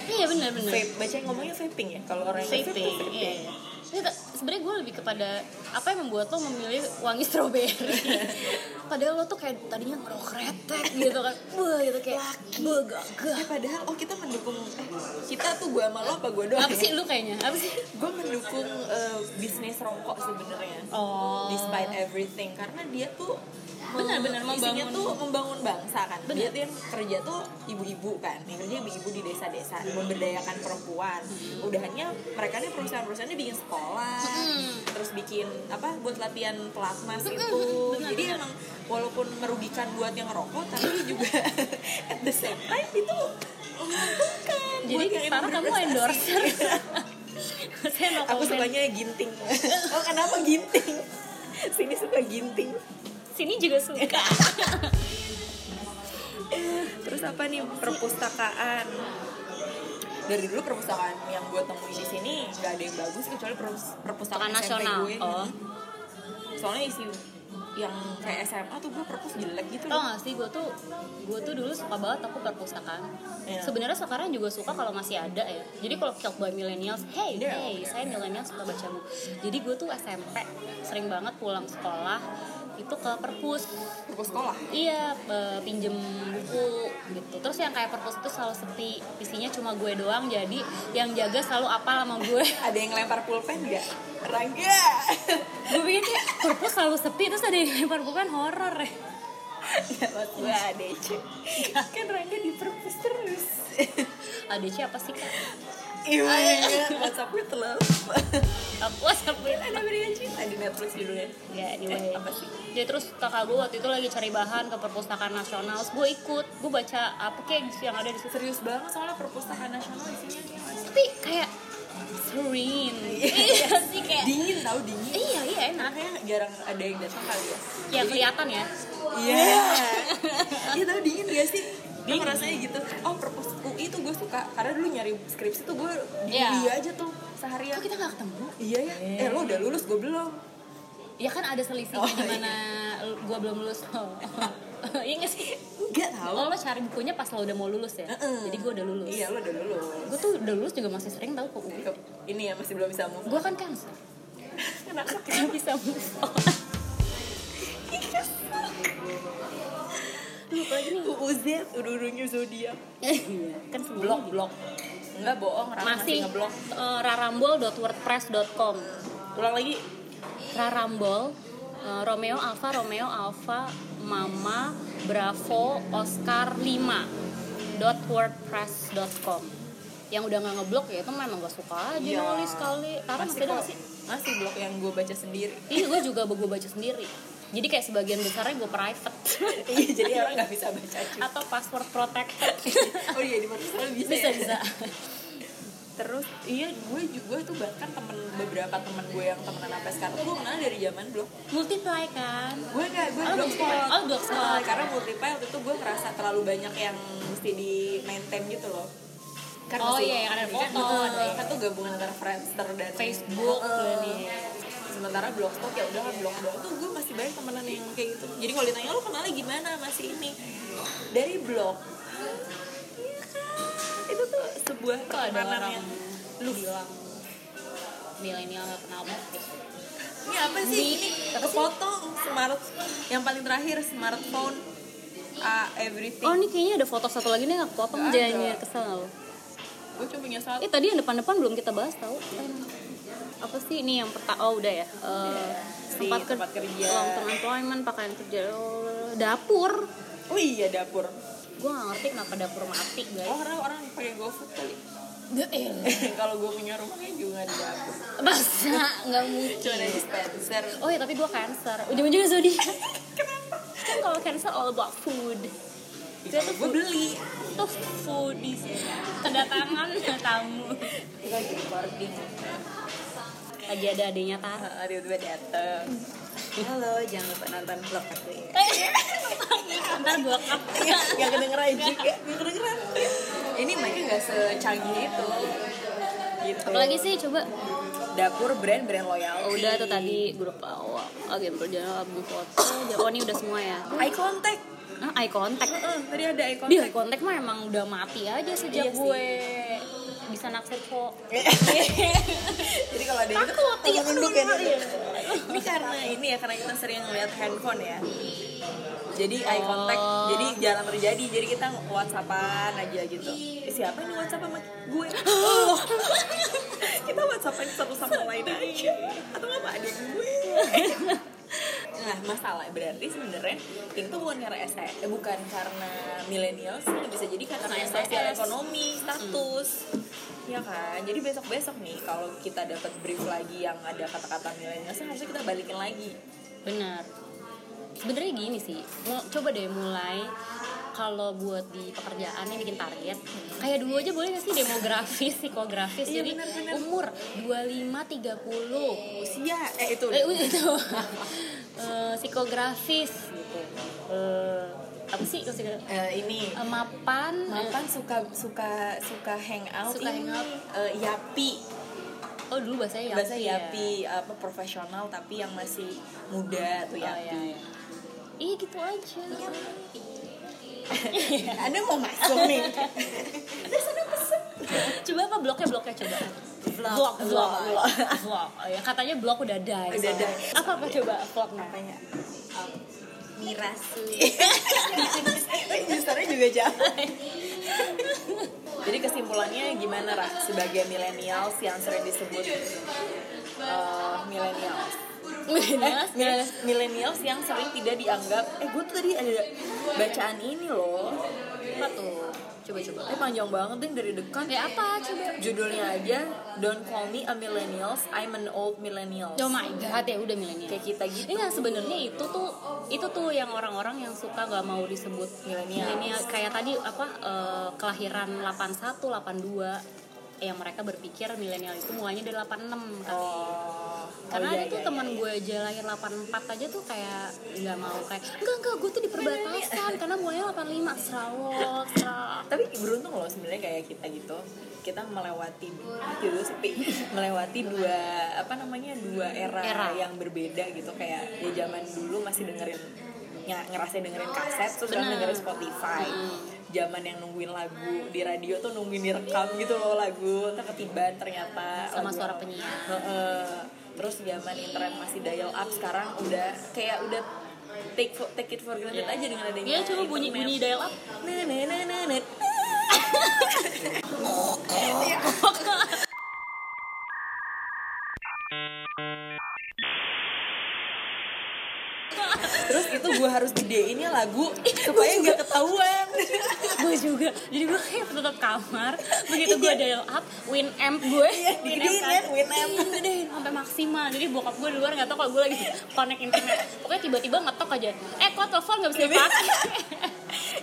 Iya benar-benar.
vape baca ngomongnya vaping ya kalau orang yang vape tuh
vaping. Iya. iya. Ini tuh sebenarnya gue lebih kepada apa yang membuat lo memilih wangi stroberi. Padahal lo tuh kayak tadinya ngerok retek gitu kan. Wah gitu kayak wah gagah.
Eh, padahal oh kita mendukung eh, kita tuh gue sama lo apa gue doang
Apa sih lu kayaknya? Apa sih?
gue mendukung eh, bisnis rokok sebenarnya
Oh.
despite everything karena dia tuh
Benar-benar
mem- isinya
membangun.
tuh membangun bangsa kan dia
Benar.
tuh yang kerja tuh ibu-ibu kan yang kerja ibu-ibu di desa-desa memberdayakan perempuan
Hmm.
udahannya mereka nih perusahaan-perusahaannya bikin sekolah
Mm.
terus bikin apa buat latihan pelatnas
Mm-mm,
itu
Hmm, benar,
jadi
benar.
emang walaupun merugikan buat yang rokok tapi juga at the same time itu menguntungkan
Jadi
buat yang
sekarang kamu
berprestasi.
endorser. Saya no
Aku
comment.
sukanya ginting. Oh, kenapa ginting? Sini suka ginting.
Sini juga suka.
Terus apa nih perpustakaan? Dari dulu perpustakaan yang gue temuin di sini nggak ada yang bagus kecuali perpus- perpustakaan
Bukan
SMP
nasional.
gue.
Oh.
Soalnya isi yang kayak SMA tuh gue perpus jelek gitu.
Tau
loh.
gak sih gue tuh gue tuh dulu suka banget aku perpustakaan.
Iya.
Sebenarnya sekarang juga suka kalau masih ada ya. Jadi kalau kiok by millennials, hey
Iya, iya.
hey, saya millennials suka baca buku. Jadi gue tuh SMP sering banget pulang sekolah itu ke perpus
Perpus sekolah.
iya eh, pinjem buku gitu terus yang kayak perpus itu selalu sepi isinya cuma gue doang jadi yang jaga selalu apal sama gue
Ada yang lempar pulpen nggak? Rangga.
gue pikir kayak perpus selalu sepi terus ada yang lempar bukan horor ya
Ya buat gue ADC. Kan Rangga di perpus terus.
ada siapa sih kak
Iya, WhatsApp gue telat.
aku sampai
ada berikan cerita di Netflix judulnya
Ya, anyway.
Eh, apa sih?
Jadi terus kakak gue waktu itu lagi cari bahan ke perpustakaan nasional, terus gue ikut, gue baca apa kayak yang ada di situ.
serius banget soalnya perpustakaan nasional isinya
Tapi kayak serene, iya sih kayak.
dingin tau dingin
Iya iya enak.
makanya jarang ada yang datang kali ya
Ya kelihatan ya.
iya iya tau dingin gak sih Gue rasanya gitu oh perpus UI tuh gue suka karena dulu nyari skripsi tuh gue di
Iya.
UI aja tuh seharian
Kok kita nggak ketemu?
iya ya eh lo udah lulus gue belum
Ya kan ada selisihnya
Oh,
gimana gue belum lulus. iya nggak sih?
enggak tau
Lo, lo cari bukunya pas lo udah mau lulus ya.
Mm-mm.
Oh, Jadi gue udah lulus.
iya lo udah lulus
Gue tuh udah lulus juga masih sering tau kok.
Ke- ini ya masih belum bisa move
Gue kan cancer.
kenapa
Gak Kan bisa move on.
lupa ini UUZ udah ujungnya zodiak
Iya, kan semuanya
blok
gitu.
blok enggak bohong Rara masih,
masih
ngeblok
eh, rarambol.wordpress.com
ulang lagi
rarambol eh, Romeo Alfa Romeo Alfa Mama Bravo Oscar 5 dot wordpress.com yang udah nggak ngeblok ya itu memang gak suka aja
Iya.
nulis kali karena masih ada nggak
kok.
sih
masih blog yang gue baca sendiri
iya gue juga gue baca sendiri jadi kayak sebagian besarnya gue private
iya jadi orang nggak bisa baca cuy
atau password protected
oh iya di Marcel bisa
bisa
ya?
bisa
terus iya gue juga tuh bahkan temen beberapa temen gue yang temenan sampai sekarang gue kenal dari zaman blog
multiply kan
gue nggak gue
Oh,
blog
Blogspot. Oh, Blogspot.
karena multiply waktu itu gue ngerasa terlalu banyak yang mesti di maintain gitu loh kan
Oh,
masih-
iya, yang ada
kan,
foto,
eh,
ada ya.
kan tuh gabungan antara Friendster dan
Facebook
Eh,
dan iya.
sementara blogspot ya udah blog doang tuh gue masih banyak temenan yang kayak gitu jadi kalau ditanya lo kenalnya gimana masih ini dari blog Iya kan? itu tuh sebuah
Kok ada
pertemanan
orang
yang
lu bilang milenial gak kenal motif
ini Iya, apa sih
Di-
ini
apa sih?
kepotong smart yang paling terakhir smartphone ah, everything
oh ini kayaknya ada foto satu lagi nih nggak potong
Nggak
jangan
ada.
kesel nggak lo
gue cuma punya satu
eh tadi yang depan-depan belum kita bahas tau apa sih ini yang peta oh udah ya Eh,
Si tempat kerja.
long term employment pakaian kerja oh, dapur
oh iya dapur
gue gak ngerti kenapa dapur mati
oh
guys
karena orang pakai GoFood kali
Gak enak.
kalau gue punya rumah kayaknya juga nggak ada dapur
masa nggak mungkin
cuma ada dispenser
oh ya tapi gue cancer ujung-ujungnya zodiak kan kalau cancer all about food Dia tuh
gue beli
tuh foodies kedatangan tamu
Kita lagi recording
lagi ada adanya Tara
Ah, tiba-tiba dateng halo jangan lupa nonton vlog aku ya
ntar gue cut
nggak kedengeran juga nggak kedengeran ini mereka nggak secanggih itu gitu
apa lagi sih coba
dapur brand brand loyal
oh, udah tuh tadi Oh, grup awal oke perjalanan album foto oh ini udah semua ya
eye contact
ah, eye contact
Heeh, Eh, tadi ada eye
di
contact
eye contact mah emang udah mati aja
Iya
sejak
sih.
gue bisa naksir kok
Jadi kalau ada gitu
Takut, iya,
nunduk ya.
keluar, iya.
Ini karena ini ya karena kita sering ngeliat handphone ya. Jadi eye contact,
Oh.
jadi jarang terjadi. Jadi kita whatsappan aja gitu. Eh, Siapa ini whatsapp sama gue? Oh. kita whatsappan satu sama lain aja. Atau apa adik gue? Nah, masalah berarti sebenarnya itu tuh bukan karena SE, eh, bukan karena milenial sih, bisa jadi karena
Karena E. Hmm.
sosial
SES.
ekonomi, status. Ya kan, jadi besok-besok nih kalau kita dapat brief lagi yang ada kata-kata milenial, harusnya kita balikin lagi.
benar sebenarnya gini sih mau coba deh mulai kalau buat di pekerjaan yang bikin target kayak dulu aja boleh gak sih demografis psikografis
Iya,
jadi
benar-benar.
umur 25 30
Usia, eh itu.
eh udah itu Eh, psikografis gitu Eh, apa sih psikografis
Eh, ini
Eh, mapan
Mapan suka suka suka hangout
iya. Suka
ini
hangout.
eh, yapi
oh dulu bahasanya yapi
bahasa
ya.
yapi apa profesional tapi yang masih muda tuh
Oh, iya,
yapi.
iya. iya gitu aja Iya.
Anda mau masuk nih?
coba apa bloknya bloknya coba
Vlog.
vlog vlog
Vlog.
vlog, vlog. Oh, ya, katanya blog udah die
Udah
soalnya.
die.
apa apa coba vlognya
Tanya.
Mirasu.
Usernya juga jahat. Jadi kesimpulannya gimana Ra sebagai millennials yang sering disebut eh, millennials?
Millennials,
Millennials- millennials yang sering tidak dianggap. Eh gue tuh tadi ada bacaan ini loh.
apa tuh coba coba
Eh panjang banget deh dari dekat.
ya apa coba
Judulnya aja Don't Call Me a Millennials, I'm an Old Millennial.
oh my god ya udah milenial
Kayak kita gitu.
Iya sebenarnya itu tuh itu tuh yang orang-orang yang suka gak mau disebut milenial. Milenial, kayak tadi apa eh, kelahiran 81, 82 yang mereka berpikir milenial itu mulanya dari 86 kan.
Oh, oh,
Karena
iya,
ada tuh
iya,
teman
iya.
gue aja lahir 84 aja tuh kayak nggak mau kayak enggak enggak gue tuh di perbatasan karena mulanya 85 serawok serawok.
tapi beruntung loh sebenarnya kayak kita gitu kita melewati dulu sepi melewati dua apa namanya dua era,
Era.
yang berbeda gitu kayak ya zaman dulu masih dengerin ya, ngerasain dengerin kaset terus sekarang
Benar.
dengerin Spotify zaman yang nungguin lagu di radio tuh nungguin direkam gitu loh lagu ntar ketiban ternyata
Sama
lagu
suara
apa.
penyiar.
Heeh. terus zaman internet masih dial up sekarang udah kayak udah take for- take it for granted aja dengan adanya
Iya coba
internet.
bunyi bunyi dial up.
Na, na, na, na, na. terus itu gue harus gedeinnya lagu supaya nggak ketahuan
gue juga jadi gue kayak tetap kamar begitu gue dial up win amp gue win
digedein kan, Iya. win amp.
gedein sampai maksimal jadi bokap gue di luar nggak tahu kalau gue lagi connect internet pokoknya tiba-tiba ngetok aja eh kok telepon nggak bisa dipakai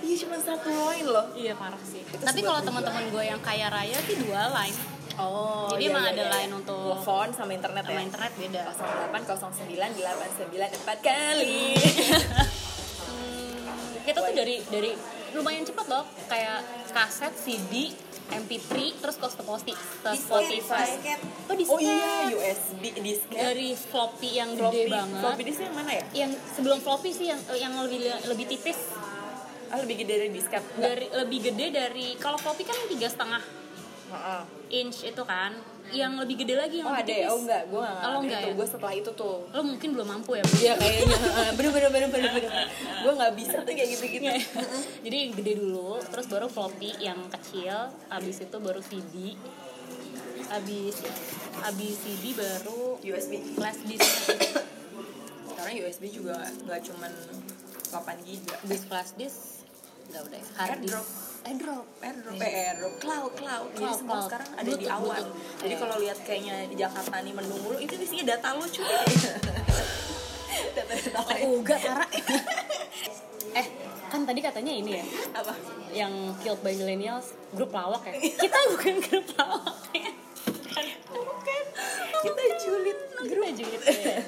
iya cuma satu line loh
iya parah sih tapi kalau teman-teman gue yang kaya raya sih dua line
oh
Jadi emang ada line untuk
telepon sama internet Oh, ya
sama internet beda
08 09 89 empat kali
kita tuh dari dari lumayan cepet loh kayak kaset CD MP3 terus ke Spotify ke Spotify oh di
oh iya USB disket
dari floppy yang
floppy
gede banget
floppy disk yang mana ya
yang sebelum floppy sih yang yang lebih lebih tipis
ah lebih gede dari disket Nggak.
dari lebih gede dari kalau floppy kan tiga setengah
Heeh.
inch itu kan yang lebih gede lagi
oh
yang lebih
ada ya
tipis
oh enggak gue nggak
Oh, lo enggak
itu
ya?
gue setelah itu tuh
lo mungkin belum mampu ya
Iya kayaknya bener bener bener bener bener gue nggak bisa tuh kayak gitu gitu
jadi yang gede dulu terus baru floppy yang kecil abis itu baru CD abis abis CD baru
USB
flash disk
sekarang USB juga nggak cuman 8 giga
abis flash disk nggak udah ya hard disk
Airdrop. airdrop
airdrop
airdrop cloud Iya. cloud jadi
Cloud,
semua
cloud.
sekarang ada di
Bluetooth,
awan
Bluetooth.
jadi
Iya.
kalau lihat kayaknya di Jakarta nih mendung mulu itu isinya data lu cuy data-data lain
oh enggak parah eh kan tadi katanya ini ya
apa
yang killed by millennials grup lawak ya kita bukan grup lawak ya bukan
kita Iya, julid
grup aja gitu ya.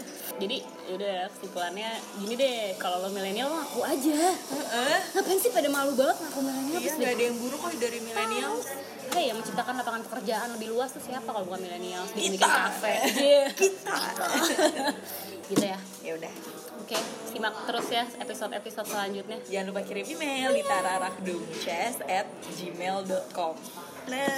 jadi udah kesimpulannya gini deh kalau lo milenial mah aku aja
Heeh.
ngapain sih pada malu banget ngaku milenial
iya
terus
nggak ada yang buruk kok dari milenial
Hei, yang menciptakan lapangan pekerjaan lebih luas tuh siapa kalau bukan milenial? Bikin
Kita.
kafe. Iya.
kita
gitu ya.
ya udah
Oke, simak terus ya episode-episode selanjutnya.
jangan lupa kirim email di tararakdumces at gmail.com nah